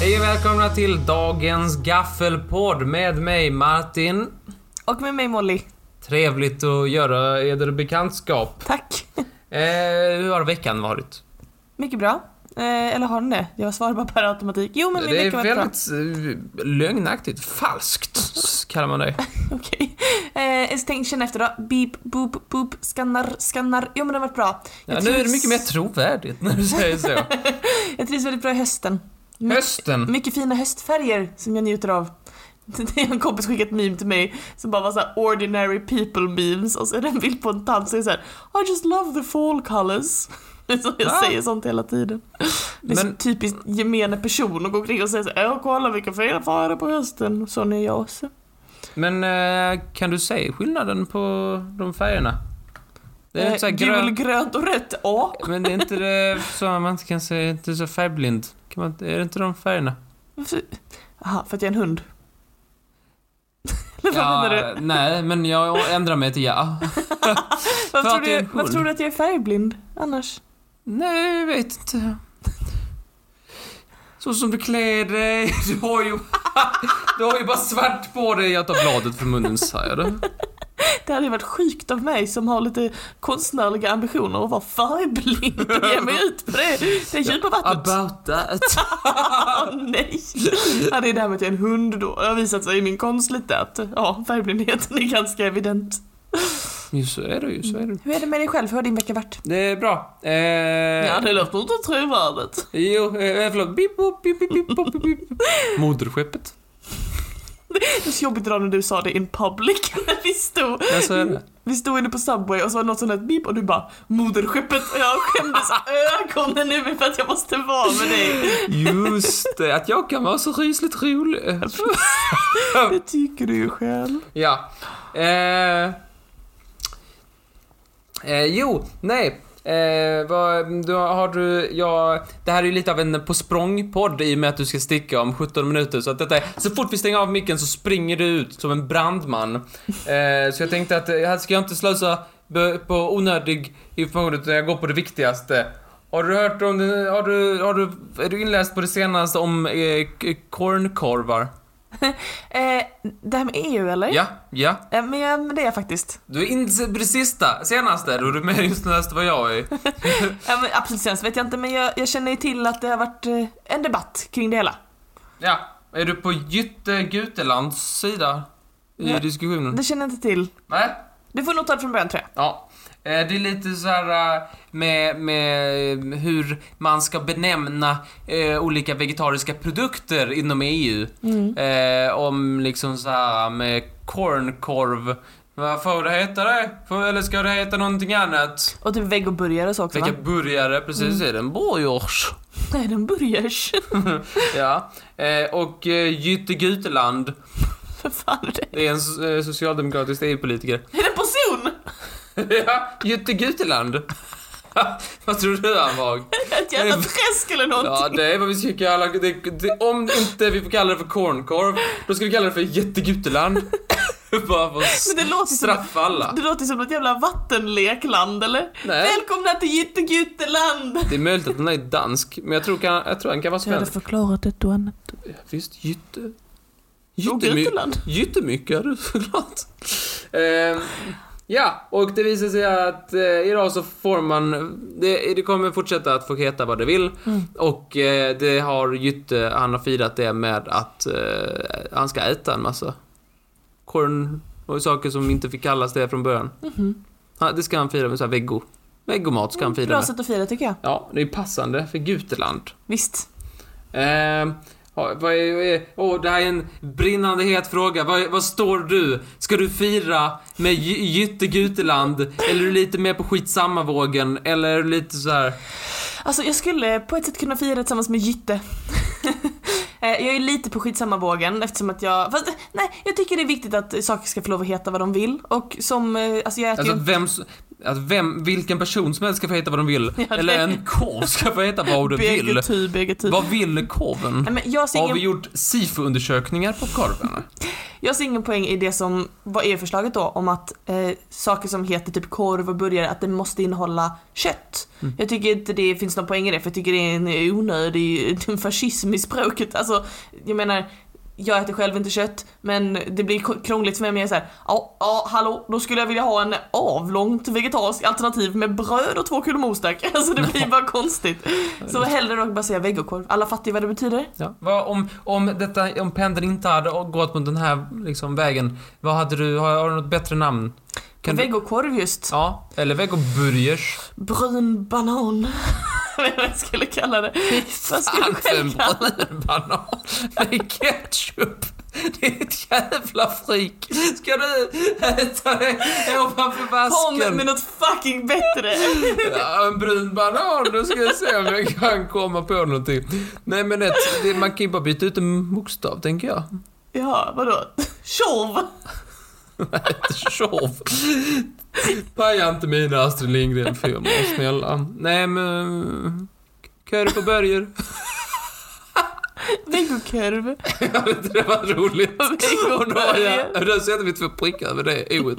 Hej och välkomna till dagens gaffelpodd med mig Martin. Och med mig Molly. Trevligt att göra eder bekantskap. Tack. Eh, hur har veckan varit? Mycket bra. Eh, eller har den det? Jag svarar bara per automatik. Jo, men min det är vecka var bra. väldigt eh, lögnaktigt. Falskt kallar man det. Okej. Eh, så tänk, känn efter då. Beep, boop, boop, skannar, skannar. Jo, men det har varit bra. Ja, Jag Mm. nu är det trivs- mycket mer trovärdigt när du säger så. Jag trivs väldigt bra i hösten. My- Hösten. Mycket fina höstfärger som jag njuter av. Det är en kompis skickat ett meme till mig som bara var såhär ordinary people memes och så är det en bild på en tant som är såhär I just love the fall colors. Det är så jag Va? säger sånt hela tiden. Det är så Ah. Men- typiskt gemene person att gå omkring och säga såhär Åh kolla vilka fina färger på hösten. Sån är jag också. Men eh, kan du se skillnaden på de färgerna? Det är inte så här Eh, Gul, grönt. grönt och rött. Ja. Men det är inte det som man inte kan se. Inte så färgblind. Kan man, är det inte de färgerna? Varför- Aha, för att jag är en hund. Eller vad Ja, menar du? Nej, men jag ändrar mig till ja. Varför att tror, jag är du, en hund. varför tror du att jag är färgblind annars? Nej, jag vet inte. Så som du klär dig. Du har ju... Du har ju bara svart på dig. Jag tar bladet från munnen, sa jag det. Det hade ju varit sjukt av mig som har lite konstnärliga ambitioner och vara färgblind och ge mig ut på det, det djupa vattnet. About that. Ah, nej! Ja, det är det här med att jag är en hund då. Det har visat sig i min konst lite att ja, färgblindheten är ganska evident. Jo, så är det ju. Så är det. Hur är det med dig själv? Hur har din vecka varit? Det är bra. Eh, Ja, det låter inte trovärdigt. Jo, eh, förlåt. Bip, bop, bip, bip, bip, bop, bip, bip. Moderskeppet. Det är så jobbigt idag när du sa det in public. När vi stod, Ja, så är det. vi stod inne på Subway och så var det något som lät beep och du bara moderskeppet och jag skämdes ögonen nu för att jag måste vara med dig. Just det, att jag kan vara så rysligt rolig. Det tycker du ju själv. Ja. Eh, eh, jo, nej. Eh, vad, då har du, ja, det här är ju lite av en På språng-podd i och med att du ska sticka om 17 minuter. Så att detta är, så fort vi stänger av micken så springer du ut som en brandman. Eh, så jag tänkte att eh, här ska jag inte slösa be- på onödig information utan jag går på det viktigaste. Har du hört om, det- har du, har du, är du inläst på det senaste om eh, k- kornkorvar? Eh, det här med EU eller? Ja, ja. Eh, men ja, men det är jag faktiskt. Du är inte på det sista, senaste, då är du med just näst vad jag är. Ja, men absolut senast vet jag inte men jag, jag känner ju till att det har varit eh, en debatt kring det hela. Ja, är du på Jytte Gutelands sida i Ja. diskussionen? Det känner jag inte till. Nej? Du får nog ta det från början tror jag. Ja. Eh, Det är lite så här eh, med, med hur man ska benämna eh, olika vegetariska produkter inom EU. Eh, om liksom så här med cornkorv. Vad får det heta det? Får, eller ska det heta någonting annat? Och typ vägg och burgare och så också Vilka va? burgare? Precis, är det en burgers? Nej, den burgers. Ja, eh, och eh, Jytte Guteland Vad fan är det? det är en so- eh, socialdemokratisk EU-politiker. Är det en person? ja, Jytte Guteland. vad tror du han var? Ett jävla träsk eller Ja, någonting? det är vad vi ska kalla det, det, Om inte vi får kalla det för cornkorv, då ska vi kalla det för Jytte Guteland. Bara för att s- Men det låter som- straffa alla. Det låter som ett jävla vattenlekland eller? Nej. Välkomna till Jyttegjuteland! Det är möjligt att han är dansk, men jag tror, kan, jag tror han kan vara Jag hade svensk. förklarat ett och annat. Visst, Jytte. Och Jyttemy- Guteland. Jättemycket är du förklarat. Ehm, ja, och det visar sig att eh, idag så får man, det, det kommer fortsätta att få heta vad det vill. Och eh, det har Jytte, han har firat det med att eh, han ska äta en massa korn och saker som inte fick kallas det från början. Han, det ska han fira med så här veggo. Veggomat ska han fira Mm, Bra med. sätt att fira tycker jag. Ja, det är passande för Guteland. Visst. Ehm, ja, vad är, vad är, åh, det här är en brinnande het fråga. Vad, vad står du? Ska du fira med Gy- Jytte Guteland? Eller är du lite mer på skitsamma-vågen? Eller är du lite så här... Alltså jag skulle på ett sätt kunna fira tillsammans med Jytte. Eh, jag är lite på skitsamma vågen eftersom att jag, fast eh, nej jag tycker det är viktigt att saker ska få lov att heta vad de vill och som, eh, alltså jag äter Alltså ju att vem, s- att vem, vilken person som helst ska få heta vad de vill. Ja, det- Eller en korv ska få heta vad typ du vill. BG-ty, BG-ty. Vad vill korven? typ. Nej men jag ser Har vi ingen, gjort SIFO-undersökningar på korven? Jag ser ingen poäng i det som, vad är förslaget då? Om att eh, saker som heter typ korv och burgare, att det måste innehålla kött. Mm. Jag tycker inte det finns någon poäng i det, för jag tycker det är en onödig fascism i språket. Alltså, jag menar, jag äter själv inte kött, men det blir krångligt för mig om jag är såhär, ja, ja, hallå, då skulle jag vilja ha en avlångt vegetarisk alternativ med bröd och två kulor mos tack. Alltså det blir bara konstigt. Så hellre då bara säga vegokorv. Alla fattar vad det betyder. Ja. Vad, om, om, detta, om pendeln inte hade gått mot den här liksom, vägen, vad hade du, har, har du något bättre namn? Kan du- Vegokorv just. Ja, eller vegoburgers. Brun banan. Vad jag skulle kalla det. Vad skulle jag Allt en själv kalla det? brun banan med ketchup. Det är ett jävla frik. Ska du äta det ovanför Kom vasken? med något fucking bättre. Ja, en brun banan, då ska jag se om jag kan komma på någonting. Nej men ett, det, man kan ju bara byta ut en bokstav, tänker jag. Ja, vadå? Tjorv. Tjov. Paja inte mina Astrid Lindgren-filmer, snälla. Nej men... Curry på burger. Vegokorv. Jag vet inte, det var roligt. Och då, har jag- Vegokorv. och då sätter vi två prickar över det oet.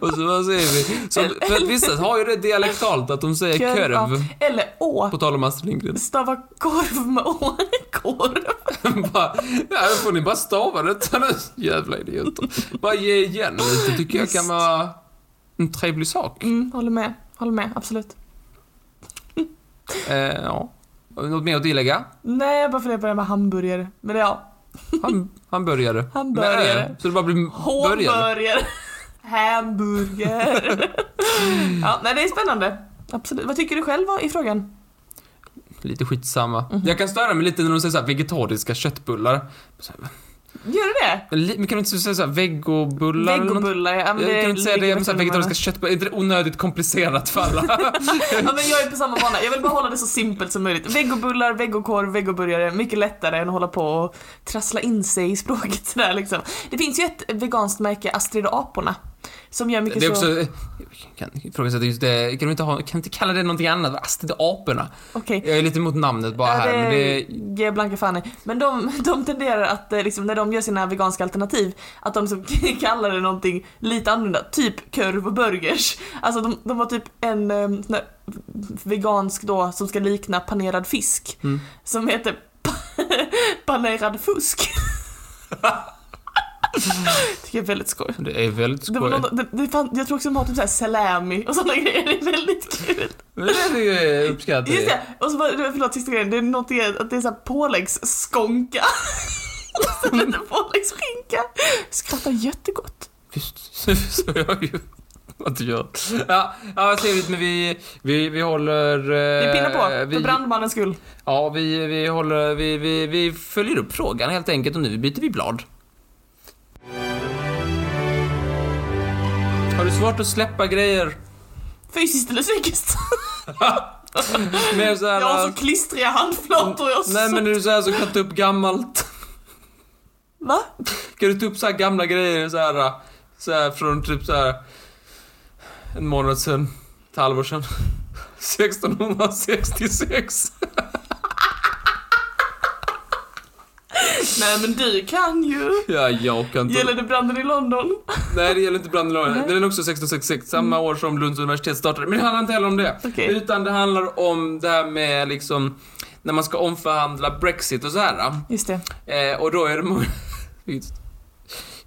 Och så vad säger vi? Så, för att vissa har ju det dialektalt att de säger Kör- kurv. ja. Eller å. På tal om Astrid Lindgren. Stava korv med å. Korv. bara, ja, då får ni bara stava detta nu. Jävla idioter. Bara ge igen lite, tycker jag kan Visst. vara en trevlig sak. Mm, håller med. Håller med, absolut. Eh, ja. Har vi Något mer att tillägga? Nej, bara för det jag börjar med hamburgare. Men ja, Han, han började. Hamburgare. Med Ö, så det bara blir började. hårburgare. Hamburgare. Mm. ja, nej, det är spännande. Absolut. Vad tycker du själv i frågan? Lite skitsamma. Jag kan störa mig lite när de säger så här vegetariska köttbullar. Så här, Gör du det? Men li- men kan du inte säga så här vegobullar? eller något? Vegobullar, ja. men Jag kan du inte säga det, ligger men så här, väl vegetariska mellan- köttbullar, är inte det onödigt komplicerat för alla? Ja, men jag är på samma bana. Jag vill bara hålla det så simpelt som möjligt. Vegobullar, vegokorv, vegoburgare. Mycket lättare än att hålla på och trassla in sig i språket sådär liksom. Det finns ju ett veganskt märke, Astrid och aporna. Som gör mycket det är så... också, jag kan ifrågasätta just det, kan du inte, ha, kan du inte kalla det någonting annat? Astrid och aporna. Okej. Jag är lite emot namnet bara här, men det, ger jag blanka fan i. Men de, de tenderar att, eh, liksom, när de gör sina veganska alternativ, att de som kallar det någonting lite annorlunda, typ korv och burgers. Alltså de, de har typ en eh, sån där vegansk då som ska likna panerad fisk, Mm. som heter panerad fusk. Tycker jag är väldigt skoj. det är väldigt Det var skoj. någon, det, det fann, jag tror också de har typ såhär salami och sådana grejer, det är väldigt kul. Men Det är det jag uppskattar. Just det! Och så var det, förlåt, sista grejen. Det är någonting att det är såhär påläggsskonka. Och så lite Mm. påläggsskinka. Skrattar jättegott. Visst, så jag ju att jag Ja, ja vad trevligt men vi, vi, vi håller... eh, Vi pinnar på, vi, för brandmannens skull. Ja, vi, vi håller, vi, vi, vi följer upp frågan helt enkelt och nu byter vi blad. Har du svårt att släppa grejer? Fysiskt eller psykiskt. Med så här, Jag har så klistriga handflator. Jag har så... nej men är du såhär som kan ta upp gammalt? Va? Kan du ta upp så här gamla grejer så här, så här från typ så här en månad sedan, ett halvår sedan? 1666. Nej men du kan ju. Ja, jag kan inte... Gäller det branden i London? Nej, Mm. det gäller inte brandlagen. Den är också 1666, samma år som Lunds universitet startade. Men det handlar inte heller om det. Okej. Utan det handlar om det här med liksom när man ska omförhandla Brexit och så här. Just det. Eh, och då är det många...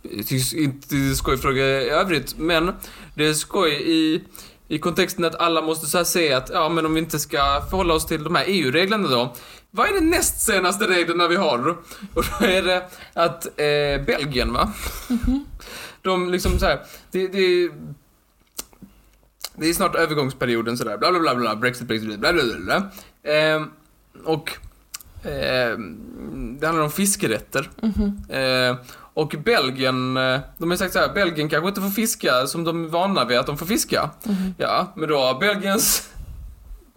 Det är inte skojfråga i övrigt, men det är skoj i, i kontexten att alla måste så här se att ja, men om vi inte ska förhålla oss till de här EU-reglerna då. Vad är det näst senaste reglerna vi har? Och då är det att eh, Belgien, va? De liksom så här, det, det, det är snart övergångsperioden sådär, bla bla bla bla, Brexit, Brexit, bla bla bla. bla. Eh, och eh, det handlar om fiskerätter. Eh, och Belgien, eh, de har sagt så här, Belgien kanske inte får fiska som de är vana vid att de får fiska. Ja, men då har Belgiens,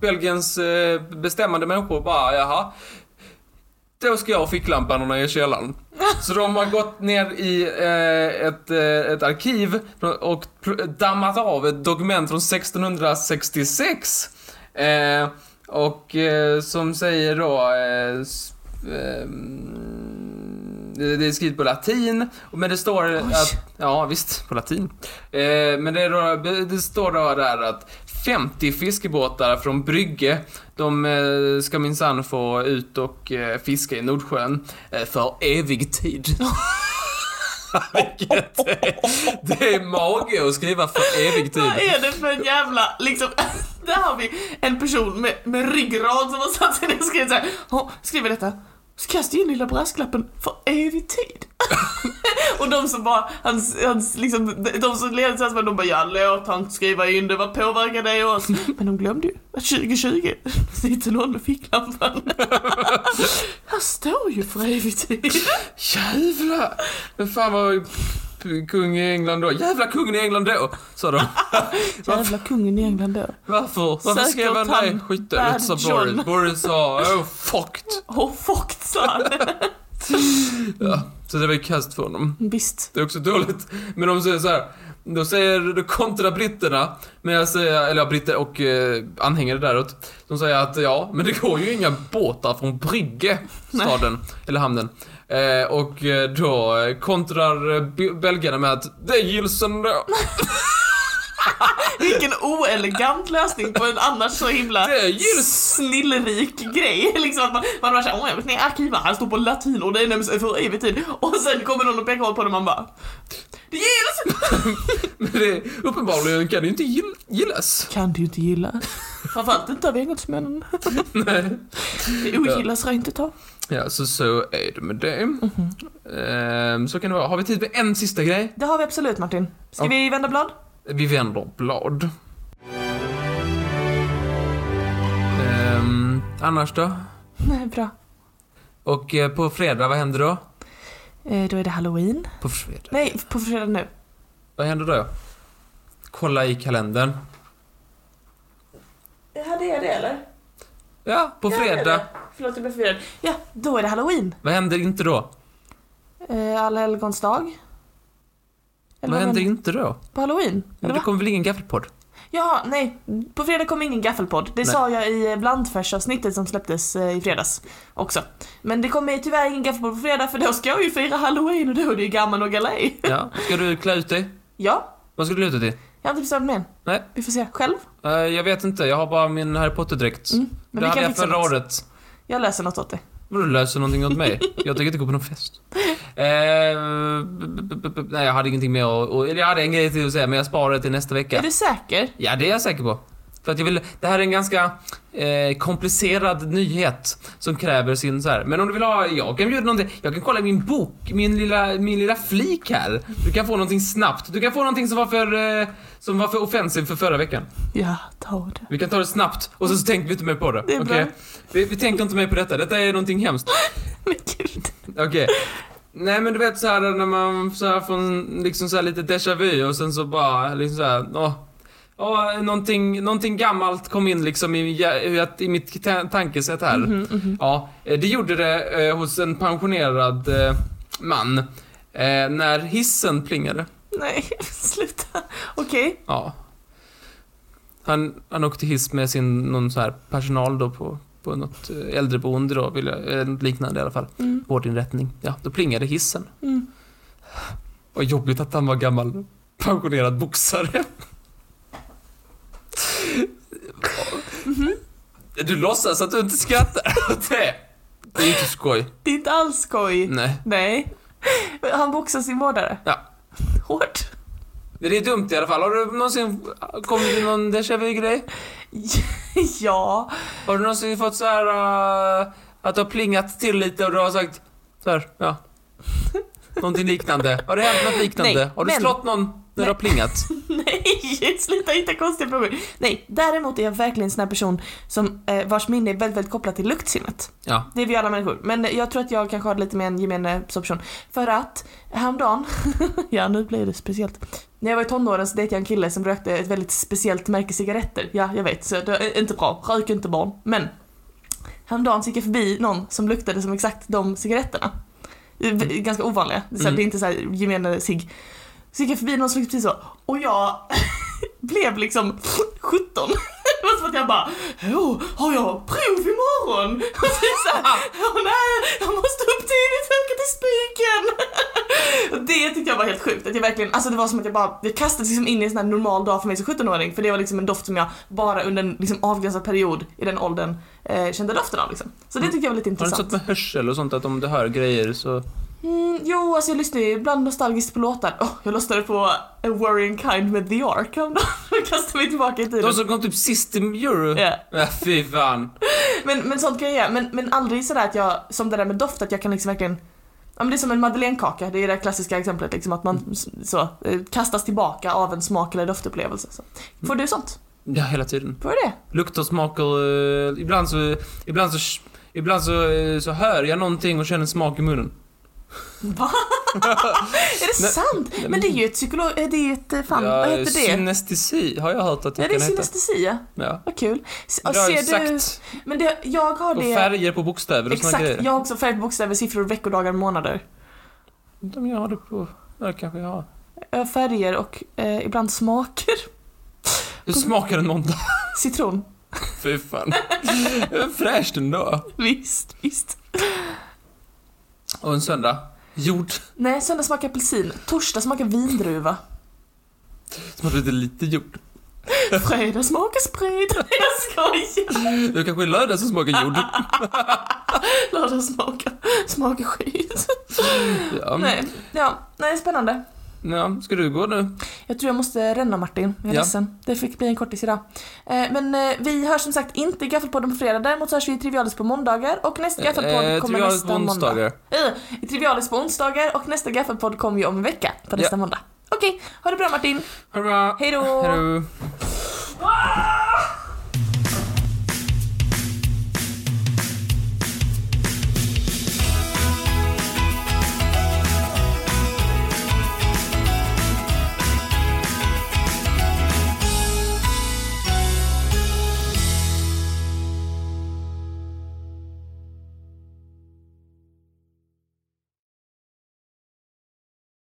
Belgiens eh, bestämmande människor bara, jaha. Då ska jag ha ficklamporna i källaren. Så de har gått ner i eh, ett, eh, ett arkiv och pl- dammat av ett dokument från 1666. Eh, och eh, som säger då... Eh, s- ehm, det är skrivet på latin, men det står Oj. att... Ja, visst, på latin. Eh, men det, är då, det står då där att 50 fiskebåtar från Brygge, de eh, ska minsann få ut och eh, fiska i Nordsjön eh, för evig tid. Vilket är, det är mage att skriva för evig tid. Vad är det för en jävla, liksom, där har vi en person med, med ryggrad som har satt sig ner och skrivit såhär, "Åh, skriver detta, så kastar jag in lilla brasklappen för evig tid. och de som bara, hans, hans liksom, de som leder till hans, de bara, ja låt han skriva in det, vad påverkar det oss? Men de glömde ju att 2020 sitter någon med ficklampan. Här står ju för evig tid. Jävlar! Men fan var kung i England då? Jävla kungen i England då! Sa de. Jävla kungen i England då. Varför? Varför Säkert skrev han han det? Skiten, Bad det sa John. Boris. Boris sa oh fucked. Åh, oh, fucked sa han. Ja, så det var ju kast för honom. Visst. Det är också dåligt. Men de säger så här. De säger, de kontra britterna, men jag säger, eller ja, britter och eh, anhängare däråt. De säger att ja, men det går ju inga båtar från Brygge, staden, eller hamnen. Eh, och eh, då eh, kontrar eh, be- belgarna med att det gills ändå. Vilken oelegant lösning på en annars så himla Det gills! snillrik grej. Liksom att man, man bara såhär, åh jag vet inte, arkiven här står på latin och det är nämns för evig tid. Och sen kommer någon och pekar på det och man bara, det gills! Men det, uppenbarligen kan det ju inte gill, gillas. Kan du inte gilla. Framförallt inte av engelsmännen. Nej. Det ogillas rent utav. Ja, så, så är det med det. Ehm, så kan det vara. Har vi tid med en sista grej? Det har vi absolut Martin. Ska Ja. vi vända blad? Vi vänder blad. Ehm, annars då? Nej, bra. Och eh, på fredag, vad händer då? Eh, då är det halloween. På fredag? Nej, på fredag nu. Vad händer då? Kolla i kalendern. Hade jag det eller? Ja, på fredag. Förlåt jag blev förvirrad. Ja, då är det halloween. Vad händer inte då? Eh, Alla helgons dag. Eller Vad vad händer menar inte då? du? På halloween? Men Eller det va? kommer väl ingen gaffelpodd? Jaha, nej. På fredag kommer ingen gaffelpodd. Det Nej. sa jag i eh, blandfärsavsnittet som släpptes eh, i fredags också. Men det kommer tyvärr ingen gaffelpodd på fredag för då ska jag ju fira halloween och då är det ju gammal och galej. Ja. Ska du klä ut dig? Ja, Vad ska du klä ut dig till? jag har inte bestämt mig än. Nej. Vi får se. Själv? Eh, jag vet inte, jag har bara min Harry Potter-dräkt. Mm, men Det vi hade kan jag fixa förra något. året. Jag löser något åt dig. Vadå löser någonting åt mig? Jag tänker inte gå på någon fest. Eh, b- b- b- b- nej, jag hade ingenting mer att... och- Eller jag hade en grej till att säga, men jag sparar det till nästa Är vecka. du säker? Ja, det är jag säker på. För att jag vill... Det här är en ganska eh, komplicerad nyhet som kräver sin så här. Men om du vill ha... Jag kan bjuda någonting. Jag kan kolla i min bok, min lilla, min lilla flik här. Du kan få någonting snabbt. Du kan få någonting som var för... Eh, som var för offensivt för förra veckan. Ja, ta det. Vi kan ta det snabbt och sen så tänker vi inte mer på det. Det är bra. Okej? Vi, vi tänker inte mer på detta. Detta är någonting hemskt. Men gud. Okej. Nej men du vet så här när man så här får en, liksom så här lite déjà vu och sen så bara liksom så här, åh. åh, någonting, någonting gammalt kom in liksom i, i, i mitt ta- tankesätt här. Mhm. Ja, eh, det gjorde det eh, hos en pensionerad eh, man. Eh, när hissen plingade. Nej, sluta. Okej. Ja. Han, han åkte hiss med sin, någon så här personal då på, på något eh, äldreboende då, vill jag, eller något liknande i alla fall. Mm. Vårdinrättning. Ja, då plingade hissen. Mm. Vad jobbigt att han var gammal pensionerad boxare. Mhm. Du låtsas att du inte skrattar åt det. Det är inte skoj. Det är inte alls skoj. Nej. Nej. Han boxar sin vårdare. Mm. Ja. Hårt. Men Det är dumt i alla fall. Har du någonsin kommit till någon déjà vu-grej? Ja. Har du någonsin fått så här eh, att du har plingat till lite och du har sagt så här, ja. Någonting liknande. Har det hänt något liknande? Nej, har du men- slått någon när du har plingat? Nej, sluta hitta konstiga frågor. Nej, däremot är jag verkligen en sån här person som, eh, vars minne är väldigt, väldigt kopplat till luktsinnet. Ja. Det är vi alla människor. Men jag tror att jag kanske har lite mer en gemene sån person. För att häromdagen, ja nu blir det speciellt. När jag var i tonåren så dejtade jag en kille som rökte ett väldigt speciellt märke cigaretter. Ja, jag vet, så det är inte bra. Rök inte barn. Men häromdagen så gick jag förbi någon som luktade som exakt de cigaretterna. Det är v- Ganska ovanliga. Det är, så här, Mm. det är inte så här gemene cigg. Så gick jag förbi någon som luktade precis så. Och jag blev liksom 17. Det var som att jag bara, åh, har jag prov imorgon? Och så är det så här, åh nej, jag måste upp tidigt och åka till Spiken. jag var helt sjukt. Att jag verkligen, alltså det var som att jag bara, det kastades liksom in i en sån här normal dag för mig som 17-åring. För det var liksom en doft som jag bara under en liksom avgränsad period i den åldern eh, kände doften av liksom. Så det tyckte jag var lite Mm. Har du inte intressant. sånt med hörsel och sånt att om du hör grejer så... Mm, jo, alltså jag lyssnar ju ibland nostalgiskt på låtar. Åh, jag lyssnade på A Worrying Kind med The Ark häromdagen. Jag kastade mig tillbaka i tiden. De som kom typ sist i Euro. Ja. Ja, fy fan. Men, men sånt kan jag göra. Men, men aldrig sådär att jag, som det där med doft, att jag kan liksom verkligen Ja, men det är som en madeleinekaka, det är det klassiska exemplet liksom att Mm. man s- så, eh, kastas tillbaka av en smak eller doftupplevelse. Så. Mm. Får du sånt? Ja, hela tiden. Får du det? Lukt och smaker. eh, ibland så... Ibland så... Ibland så, eh, så hör jag någonting och känner en smak i munnen. Va? är det Nej, sant? Men det är ju ett psykolog... eh, Det är ju ett... eh, Fan, ja, vad heter det? Synestesi har jag hört att det Ja, det är kan heta. synestesi, ja. Ja. Vad kul. S- Ja, och ser du... exakt. Men det, jag har Och det... färger på bokstäver och såna Exakt, grejer. jag har också färg på bokstäver, siffror, veckodagar, månader. De jag har det på... Ja, det kanske jag har. Eh, Färger och eh, ibland smaker. Hur smakar en måndag? Citron. Fy fan. Det var Fräscht ändå. Visst, visst. Och en söndag. Jord. Nej, söndag smakar apelsin, torsdag smakar vindruva, Smakar lite, lite jord. fredag smakar sprit. Jag skojar! Det kanske är lördag som smakar jord. Lördag smakar, smakar skit. Ja. Nej, ja, nej, spännande. ja. Ska du gå nu? Jag tror jag måste ränna Martin, jag är Ja. ledsen. Det fick bli en kortis idag. Eh, Men eh, vi hörs som sagt inte i Gaffelpodden på fredag, däremot så hörs vi i Trivialis på måndagar och nästa Gaffelpodd kommer Eh, trivialis nästa på måndag. onsdagar. Eh, I Trivialis på onsdagar och nästa Gaffelpodd kommer ju om en vecka, på nästa måndag. Okej, ha det bra Martin. Ha det bra. Hej då! Hej då. Ah!